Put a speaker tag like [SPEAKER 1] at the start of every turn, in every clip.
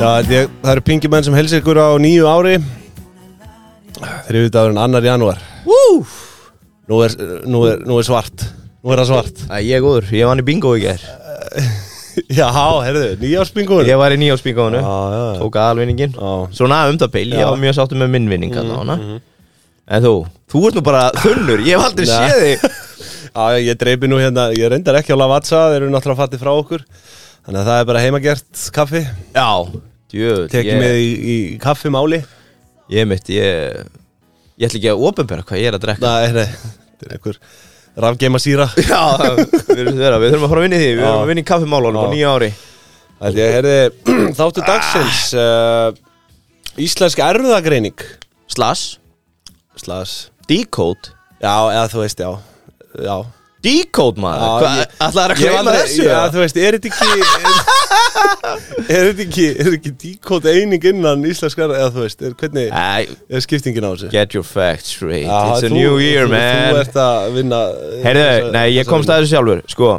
[SPEAKER 1] Já, ég, það eru pingjumenn sem helsa ykkur á nýju ári Þriðudagurinn annar janúar
[SPEAKER 2] Woo!
[SPEAKER 1] nú er, nú, er, nú er svart Nú er það svart
[SPEAKER 2] Æ, ég er góður, ég vann í bingo í ger
[SPEAKER 1] Já, herðu, nýjáspingur
[SPEAKER 2] Ég var í nýjáspingónu,
[SPEAKER 1] já.
[SPEAKER 2] tók aðalvinningin
[SPEAKER 1] Já. Mhm,
[SPEAKER 2] Svona um það bil, ég var mjög sáttur með minnvinning mm En þú, þú ert nú bara þunnur, ég hef aldrei
[SPEAKER 1] Nei.
[SPEAKER 2] séð þig
[SPEAKER 1] Já, ég dreipi nú hérna, ég reyndar ekki á Lavazza, þeir eru náttúrulega fattið frá okkur Þannig að það er bara heimagert kaffi
[SPEAKER 2] Já, djöð
[SPEAKER 1] Tekið
[SPEAKER 2] ég,
[SPEAKER 1] með í, í kaffimáli
[SPEAKER 2] ég mitt, ég Ég ætla ekki að ofinbera hvað ég er að drekka
[SPEAKER 1] Nei, nei, þetta er einhver rafgeima síra
[SPEAKER 2] Já, það- við erum, vera, við þurfum að fara að vinna í því Við
[SPEAKER 1] Já.
[SPEAKER 2] erum að vinna í kaffimálunum á
[SPEAKER 1] Já.
[SPEAKER 2] nýja ári
[SPEAKER 1] Það er herði, þáttu dagsins
[SPEAKER 2] Ah.
[SPEAKER 1] uh, Íslensk erfðagreining
[SPEAKER 2] Slash,
[SPEAKER 1] Slas
[SPEAKER 2] decode
[SPEAKER 1] Já, eða þú veist, já Já,
[SPEAKER 2] Decode maður,
[SPEAKER 1] Já,
[SPEAKER 2] hvað,
[SPEAKER 1] ég-
[SPEAKER 2] ætlaðu að
[SPEAKER 1] Ég hef
[SPEAKER 2] gleyma
[SPEAKER 1] aldrei-
[SPEAKER 2] þessu?
[SPEAKER 1] Já, þú veist, er þetta ekki Er er þetta ekki, er ekki díkót eining innan íslenskar Eða þú veist, er, hvernig
[SPEAKER 2] Æ,
[SPEAKER 1] er skiptingin á þessu?
[SPEAKER 2] Get your facts straight
[SPEAKER 1] Já,
[SPEAKER 2] It's a
[SPEAKER 1] þú-
[SPEAKER 2] new year
[SPEAKER 1] þú-
[SPEAKER 2] man
[SPEAKER 1] Þú ert að vinna eh,
[SPEAKER 2] Heyrðu, nei, ég komst að þessu sjálfur Sko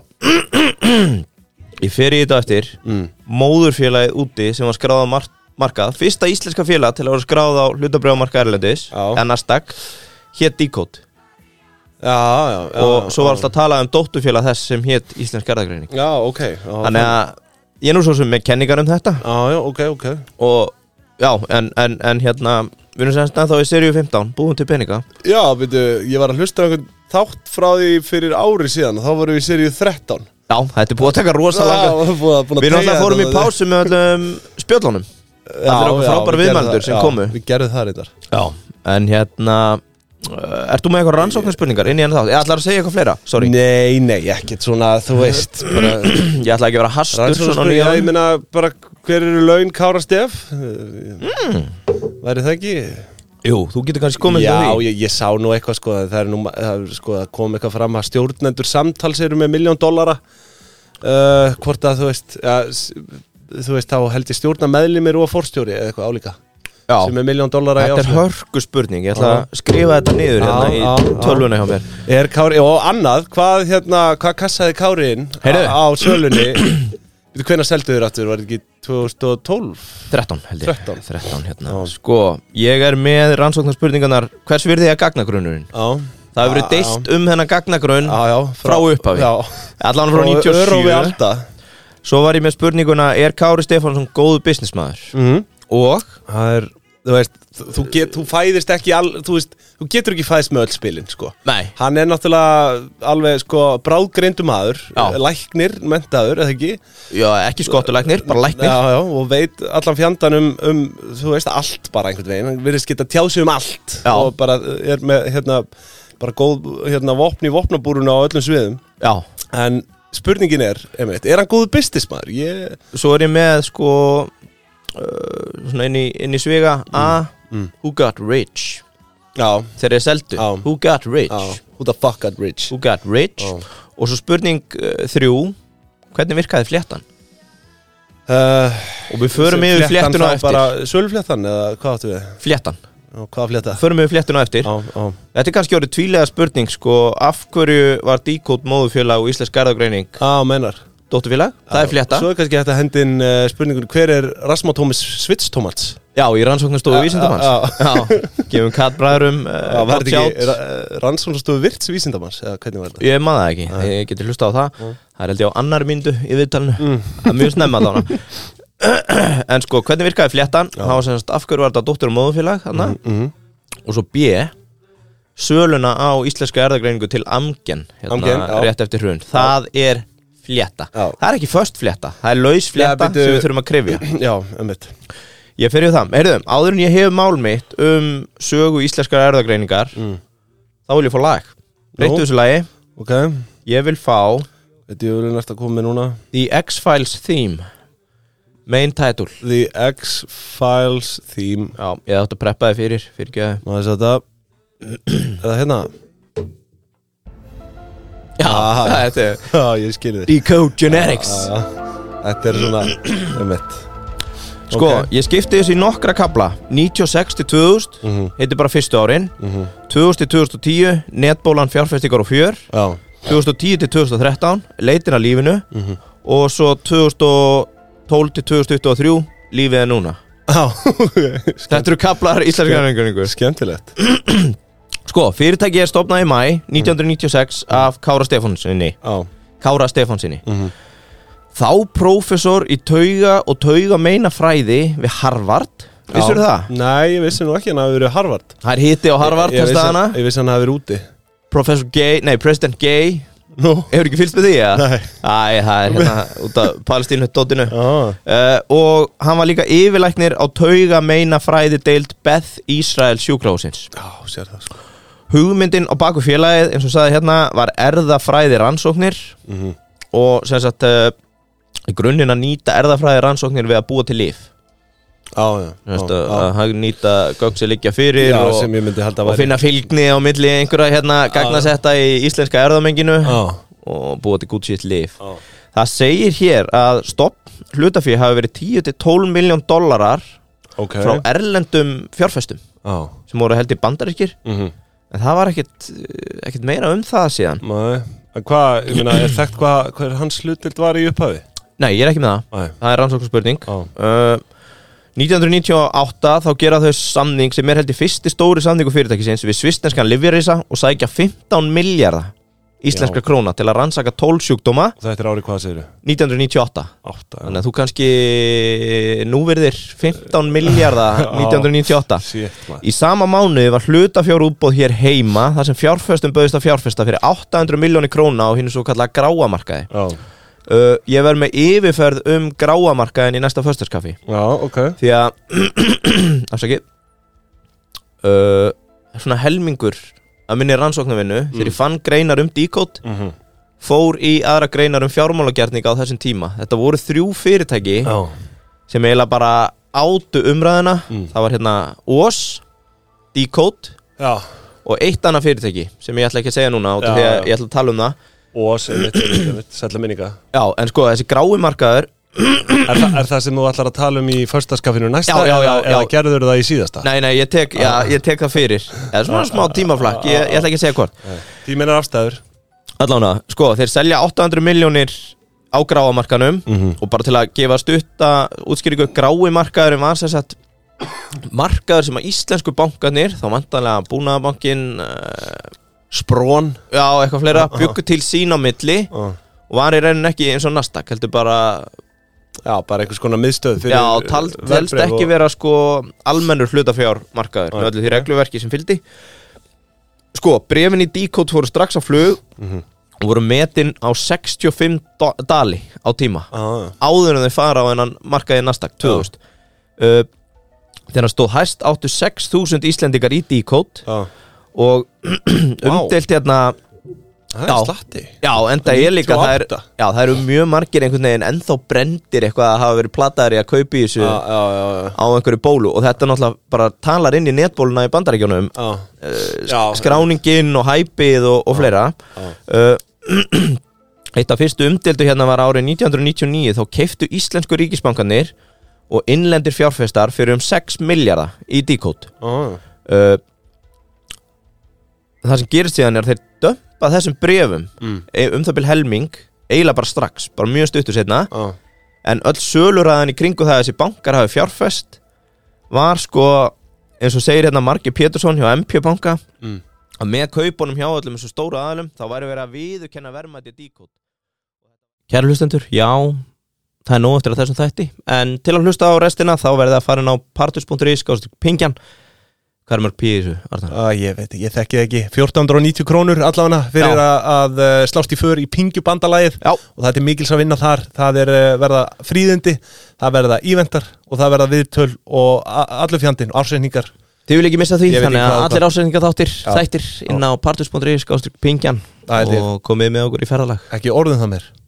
[SPEAKER 2] Ég fer í þetta eftir
[SPEAKER 1] Mm.
[SPEAKER 2] Móðurfélagið úti sem var skráð á mar markað Fyrsta íslenska félag til að vera skráð á hlutabrjóðmarka Erlendis
[SPEAKER 1] Já.
[SPEAKER 2] En Nasdaq Hétt Decode
[SPEAKER 1] Já, já, já
[SPEAKER 2] Og svo var
[SPEAKER 1] já.
[SPEAKER 2] alltaf að tala um dóttufélag þess sem hétt Íslensk erðagreining
[SPEAKER 1] Já, ok já,
[SPEAKER 2] Þannig að ég er nú svo sem með kenningar um þetta
[SPEAKER 1] Já, já, ok, ok
[SPEAKER 2] Og já, en, en, en hérna Við erum semst að þá í seríu 15 Búum til peninga
[SPEAKER 1] Já, veitu, ég var að hlusta á einhvern þátt frá því fyrir ári síðan og Þá vorum við í seríu 13
[SPEAKER 2] Já, þetta er búið að taka rosa langa
[SPEAKER 1] Já, búið að- búin að
[SPEAKER 2] Við
[SPEAKER 1] teygja
[SPEAKER 2] náttúrulega fórum í
[SPEAKER 1] þetta.
[SPEAKER 2] pásu með öllum spjöllunum
[SPEAKER 1] Já,
[SPEAKER 2] allir okkur
[SPEAKER 1] já,
[SPEAKER 2] frábæru
[SPEAKER 1] við gerðum
[SPEAKER 2] viðmælendur
[SPEAKER 1] það,
[SPEAKER 2] sem
[SPEAKER 1] já,
[SPEAKER 2] komu.
[SPEAKER 1] Við gerðum það reyndar
[SPEAKER 2] Já En hérna uh, Ert þú með eitthvað rannsóknarspurningar inn í henni þátt? Ég ætlar að segja eitthvað fleira, sorry
[SPEAKER 1] Nei, nei, ekkert svona, þú veist bara,
[SPEAKER 2] Ég ætla ekki að vera hastur svona
[SPEAKER 1] Rannsóknarspurning,
[SPEAKER 2] nýja
[SPEAKER 1] já, ég meina bara hver eru laun Kára Stef mm. Væri það ekki?
[SPEAKER 2] Jú, þú getur kannski komið
[SPEAKER 1] Já,
[SPEAKER 2] til því
[SPEAKER 1] ég, ég sá nú eitthvað sko að það er nú, það er, sko, það kom eitthvað fram að stjórnendur samtals eru með miljón dollara uh, hvort að þú veist ja, s- þú veist, þá held ég stjórna meðlimir og fórstjóri eða eitthvað álíka sem
[SPEAKER 2] Já,
[SPEAKER 1] er miljón dollara í
[SPEAKER 2] þetta er
[SPEAKER 1] ásökun.
[SPEAKER 2] hörku spurning Ég ætla að skrifa þetta niður
[SPEAKER 1] Já,
[SPEAKER 2] hérna
[SPEAKER 1] já,
[SPEAKER 2] í
[SPEAKER 1] já.
[SPEAKER 2] tölvuna hjá mér
[SPEAKER 1] Er Kári, og annað, hvað hérna, hvað kassaði Kári inn á,
[SPEAKER 2] Heyrðu.
[SPEAKER 1] á sölunni Veitu, hvenær seldu þér aftur, var þetta ekki 2012?
[SPEAKER 2] 13 held ég
[SPEAKER 1] 13.
[SPEAKER 2] 13 hérna
[SPEAKER 1] Já.
[SPEAKER 2] Sko, ég er með rannsóknarspurningarnar Hvers virði er gagnagrunnurinn?
[SPEAKER 1] Já
[SPEAKER 2] Það hefur verið
[SPEAKER 1] Já,
[SPEAKER 2] deilt um hennan gagnagrunn
[SPEAKER 1] Já, já,
[SPEAKER 2] frá upphafi
[SPEAKER 1] Já
[SPEAKER 2] Allan frá
[SPEAKER 1] Örofi
[SPEAKER 2] 97
[SPEAKER 1] Alda
[SPEAKER 2] Svo var ég með spurninguna Er Kári Stefánsson góð businessmaður?
[SPEAKER 1] mm.
[SPEAKER 2] Og
[SPEAKER 1] Það er, þú veist, þú- þú, get, þú fæðist ekki all, þú, veist, þú getur ekki fæðist með öll spilin, sko
[SPEAKER 2] Nei
[SPEAKER 1] Hann er náttúrulega alveg, sko, bráðgreindu maður
[SPEAKER 2] Já.
[SPEAKER 1] Læknir, mentaður, eða ekki
[SPEAKER 2] Já, ekki skottulæknir, bara læknir
[SPEAKER 1] Já, já, og veit allan fjandan um, um þú veist, allt bara einhvern veginn hann virðist geta tjáð sig um allt
[SPEAKER 2] Já.
[SPEAKER 1] og bara er með, hérna, bara góð hérna, vopn í vopnabúruna á öllum sviðum
[SPEAKER 2] Já
[SPEAKER 1] en spurningin er, einmitt, er hann góð businessmaður? Ég,
[SPEAKER 2] Svo er ég með sko uh, Svona inn í, inn í svega
[SPEAKER 1] Mm.
[SPEAKER 2] A Who got rich
[SPEAKER 1] já,
[SPEAKER 2] Þegar ég seldu
[SPEAKER 1] Já.
[SPEAKER 2] Who got rich
[SPEAKER 1] já who the fuck got rich?
[SPEAKER 2] Who got rich
[SPEAKER 1] Já.
[SPEAKER 2] Og svo spurning uh, þrjú Hvernig virkaði fléttan?
[SPEAKER 1] Uh,
[SPEAKER 2] Og við förum yfir fléttuna á eftir
[SPEAKER 1] bara
[SPEAKER 2] bara...
[SPEAKER 1] sölufléttan eða hvað áttu við?
[SPEAKER 2] Fléttan
[SPEAKER 1] Og hvað flétta?
[SPEAKER 2] Förum yfir fléttuna á eftir
[SPEAKER 1] Já, já,
[SPEAKER 2] Þetta er kannski orðið tvílega spurning sko Af hverju var Decode móðufélag og Íslensk Garðagreining
[SPEAKER 1] já, meinar
[SPEAKER 2] Dótturfélag, það er flétta
[SPEAKER 1] Svo er kannski hægt að hendin uh, spurningun Hver er Rasmus Tómas Svitstómats?
[SPEAKER 2] Já, í rannsóknastofu
[SPEAKER 1] Já,
[SPEAKER 2] vísindamanns
[SPEAKER 1] já,
[SPEAKER 2] Já, gefum kattbræðurum
[SPEAKER 1] Já, var þetta ekki
[SPEAKER 2] uh,
[SPEAKER 1] ra- rannsóknastofu virts vísindamanns eða hvernig var þetta?
[SPEAKER 2] Ég maður það ekki, ég geti hlusta á það Það er held ég á annar myndu í viðtalinu
[SPEAKER 1] Mm.
[SPEAKER 2] Það er mjög snemma þána En sko, hvernig virkaði fléttan? Það var semst, af hverju var þetta dóttur og móðufélag þarna
[SPEAKER 1] Mhm. Mm.
[SPEAKER 2] Og svo B Söluna á íslenska erðagreiningu til Amgen, hérna,
[SPEAKER 1] Amgen, já.
[SPEAKER 2] rétt eftir hrun Það er flétta
[SPEAKER 1] Já.
[SPEAKER 2] Það er ekki föst flétta, það er laus flétta
[SPEAKER 1] bíddu.
[SPEAKER 2] sem við þurfum að krifja
[SPEAKER 1] Já, ömmit
[SPEAKER 2] Ég fyrir það, heyrðum, áður en ég hef mál mitt um sögu íslenskar erðagreiningar þá vil ég fá lag
[SPEAKER 1] Mm. Nú.
[SPEAKER 2] Breyttu þessu lagi,
[SPEAKER 1] Ok,
[SPEAKER 2] ég vil fá
[SPEAKER 1] þetta er vel næst að koma með núna
[SPEAKER 2] The X-Files Theme Main Title
[SPEAKER 1] The X-Files theme
[SPEAKER 2] Já, ég átti að preppa þið fyrir, fyrir ekki
[SPEAKER 1] Má þess að þetta Er það hérna?
[SPEAKER 2] Já, þetta er
[SPEAKER 1] Já, ég skilði þig
[SPEAKER 2] Decode Genetics
[SPEAKER 1] Já, Þetta er svona ömmit
[SPEAKER 2] Sko, ég skipti þessu í nokkra kabla 96 til 2000,
[SPEAKER 1] Mhm.
[SPEAKER 2] heitir bara fyrstu árin 2000 til 2010 Netbólan fjárfestingar og fjör
[SPEAKER 1] Já,
[SPEAKER 2] 2010 til Mhm. 2013 Leitin að lífinu og svo 2012 til 2023 lífið er núna
[SPEAKER 1] Já, ok.
[SPEAKER 2] Þetta eru kaplar íslenskar reyningu
[SPEAKER 1] skemmtilegt
[SPEAKER 2] Sko, fyrirtæki er stofnað í mæ 1996 af Kára Stefánsinni
[SPEAKER 1] Já,
[SPEAKER 2] Kára Stefánsinni
[SPEAKER 1] Mhm.
[SPEAKER 2] Þá prófessor í tauga og tauga meina fræði við Harvard Vissur
[SPEAKER 1] Já.
[SPEAKER 2] það?
[SPEAKER 1] Nei, ég vissi nú ekki hann hafi verið Harvard
[SPEAKER 2] Það er hitti á Harvard
[SPEAKER 1] Ég- ég
[SPEAKER 2] þess
[SPEAKER 1] vissi-
[SPEAKER 2] staðana
[SPEAKER 1] Ég vissi hann hafi verið úti
[SPEAKER 2] Professor Gay, nei, President Gay
[SPEAKER 1] Nú
[SPEAKER 2] Hefur ekki fylgst með því, eða?
[SPEAKER 1] Nei.
[SPEAKER 2] Æ, það er hérna út af Palestínu-dóttinu
[SPEAKER 1] Já,
[SPEAKER 2] uh, Og hann var líka yfirlæknir á tauga meina fræði deild Beth Israel sjúkrahúsins
[SPEAKER 1] Já, sér það sko
[SPEAKER 2] Hugmyndin á baku félagið, eins og sagði hérna, var erðafræði rannsóknir
[SPEAKER 1] Mhm.
[SPEAKER 2] Og sem sagt, uh, í grunninn að nýta erðafræði rannsóknir við að búa til líf
[SPEAKER 1] Já, já,
[SPEAKER 2] Þú veist,
[SPEAKER 1] já,
[SPEAKER 2] að að hann nýta gögn sem liggja fyrir
[SPEAKER 1] já,
[SPEAKER 2] og,
[SPEAKER 1] sem ég myndi held að
[SPEAKER 2] og finna fylgni á milli einhverja hérna gagnasetta í íslenska erðamenginu
[SPEAKER 1] Já,
[SPEAKER 2] og búa til gútt sitt líf
[SPEAKER 1] já,
[SPEAKER 2] Það segir hér að stopp hlutafíð hafi verið 10-12 miljón dollarar
[SPEAKER 1] ok
[SPEAKER 2] frá erlendum fjárfestum
[SPEAKER 1] Já,
[SPEAKER 2] sem voru held í bandaríkir
[SPEAKER 1] mhm
[SPEAKER 2] en það var ekkit, eh, ekkit meira um það síðan
[SPEAKER 1] Nei, en hvað, ég meina, er þekkt hvað hver hans hlutild var í upphafi?
[SPEAKER 2] Nei, ég er ekki með það,
[SPEAKER 1] Nei,
[SPEAKER 2] það er rannsóknarspurning
[SPEAKER 1] já,
[SPEAKER 2] uh, 1998 þá gera þau samning sem er held í fyrsti stóri samningu fyrirtækisins við svistneskan livjarísa og sækja 15 miljardar íslenska
[SPEAKER 1] Já.
[SPEAKER 2] króna til að rannsaka 12 sjúkdóma
[SPEAKER 1] þetta er árið hvað segirðu?
[SPEAKER 2] 1998
[SPEAKER 1] Átta,
[SPEAKER 2] Þannig að þú kannski núverðir 15 miljardar 1998
[SPEAKER 1] Sétt, maður
[SPEAKER 2] Í sama mánuði var hlutafjárútbóð hér heima þar sem fjárfestum bauðist að fjárfesta fyrir 800 miljóni króna á hinn svo kallaða gráamarkaði
[SPEAKER 1] Já,
[SPEAKER 2] uh, Ég verð með yfirferð um gráamarkaðin í næsta föstaskaffi
[SPEAKER 1] já, ok
[SPEAKER 2] Því að, afsaki uh, Svona helmingur að minni rannsóknarvinnu þegar ég fann greinar um díkót
[SPEAKER 1] Mm. Mhm.
[SPEAKER 2] fór í aðra greinar um fjármálagerninga á þessum tíma Þetta voru þrjú fyrirtæki
[SPEAKER 1] Já,
[SPEAKER 2] sem eiginlega bara átu umræðina
[SPEAKER 1] Mm.
[SPEAKER 2] það var hérna OS Decode
[SPEAKER 1] já
[SPEAKER 2] og eitt annað fyrirtæki sem ég ætla ekki að segja núna út af
[SPEAKER 1] Já,
[SPEAKER 2] því að
[SPEAKER 1] já.
[SPEAKER 2] ég ætla að tala um það
[SPEAKER 1] Og sem mitt, sem mitt, sætla minninga
[SPEAKER 2] Já, en sko þessi grái markaður
[SPEAKER 1] er, þa er það sem þú ætlar að tala um í förstaskafinu næsta
[SPEAKER 2] Já, já, já,
[SPEAKER 1] eða, eða
[SPEAKER 2] já.
[SPEAKER 1] gerður það í síðasta?
[SPEAKER 2] Nei, nei, ég tek, já, ég tek það fyrir eða svona
[SPEAKER 1] Ah.
[SPEAKER 2] smá tímaflakk, ég, ég ætla ekki að segja hvort
[SPEAKER 1] Tíminn er afstæður
[SPEAKER 2] Allána, sko, þeir selja 800 miljónir á gráamarkanum og bara til að gefa stutta útskýringu grái markaðurinn var sem sagt markaður sem að íslensku bankarnir þá vantanlega búnaðabankin uh,
[SPEAKER 1] Sprón
[SPEAKER 2] já, eitthvað fleira, byggu til sín á milli
[SPEAKER 1] Já,
[SPEAKER 2] og var í raunin ekki eins og nastak heldur bara,
[SPEAKER 1] bara einhvers konar miðstöð fyrir eh,
[SPEAKER 2] já, tal, telst
[SPEAKER 1] verðbréf
[SPEAKER 2] ekki
[SPEAKER 1] og-
[SPEAKER 2] vera sko almennur hlutafjár markaður með
[SPEAKER 1] Nei.
[SPEAKER 2] öllu því regluverki sem fylgdi sko, brefin í Decode voru strax á flug
[SPEAKER 1] Mhm.
[SPEAKER 2] og voru metin á 65 do- dali á tíma
[SPEAKER 1] Já, já.
[SPEAKER 2] áður en þau fara á hennan markaði Nasdaq 2000
[SPEAKER 1] Ah.
[SPEAKER 2] uh, þegar hann stóð hæst áttu 6000 Íslendingar í D-Code
[SPEAKER 1] já Ah.
[SPEAKER 2] og umdelt hérna
[SPEAKER 1] Það
[SPEAKER 2] Já.
[SPEAKER 1] er slatti
[SPEAKER 2] já, enda ég líka það, er,
[SPEAKER 1] 98.
[SPEAKER 2] já, það eru mjög margir einhvern veginn ennþá brendir eitthvað að hafa verið plataðir í að kaupi þessu
[SPEAKER 1] Já, já, já, já
[SPEAKER 2] á einhverju bólu og þetta náttúrulega bara talar inn í netbóluna í bandaríkjónum
[SPEAKER 1] Já,
[SPEAKER 2] uh,
[SPEAKER 1] Já.
[SPEAKER 2] skráningin og hæpið og, og fleira uh, Eitt af fyrstu umdeldu hérna var árið 1999 þá keiftu íslensku ríkisbankanir og innlendir fjárfestar fyrir um 6 miljardar í díkót
[SPEAKER 1] já.
[SPEAKER 2] uh, Það sem gerist síðan er að þeir dömpa þessum brefum
[SPEAKER 1] Mm.
[SPEAKER 2] e- um það byrja helming eiginlega bara strax, bara mjög stuttur setna
[SPEAKER 1] já
[SPEAKER 2] en öll söluræðan í kringu það að þessi bankar hafi fjárfest var sko eins og segir hérna Marki Pétursson hjá MP banka
[SPEAKER 1] Mm.
[SPEAKER 2] að með kaupunum hjá öllum þessum stóra aðalum þá væri verið að viðurkenna verðmæti díkót Kæra hlustendur, já það er nóg eftir að þessum þætti en til að hlusta á restina þá verðið að fara inn á partus.is skáðstu pingjan hvað er mörg pí í þessu, Arnar?
[SPEAKER 1] Ah, ég veit ekki, ég þekki það ekki 1490 krónur allavega fyrir
[SPEAKER 2] Já.
[SPEAKER 1] að, að eh, slást í för í pingjubandalagið
[SPEAKER 2] Já.
[SPEAKER 1] og það er mikils að vinna þar það er eh, verða fríðindi, það verða íventar og það verða viðtöl og a- allur fjandinn, ársreiningar
[SPEAKER 2] Þið vil ekki missa því,
[SPEAKER 1] Ég veit ekki
[SPEAKER 2] þannig að
[SPEAKER 1] hvað
[SPEAKER 2] allir ásendingar þáttir
[SPEAKER 1] Já.
[SPEAKER 2] þættir inn á partus.is skáðstu pingjan
[SPEAKER 1] Það er
[SPEAKER 2] og komið með okkur í ferðalag
[SPEAKER 1] ekki orðum það mér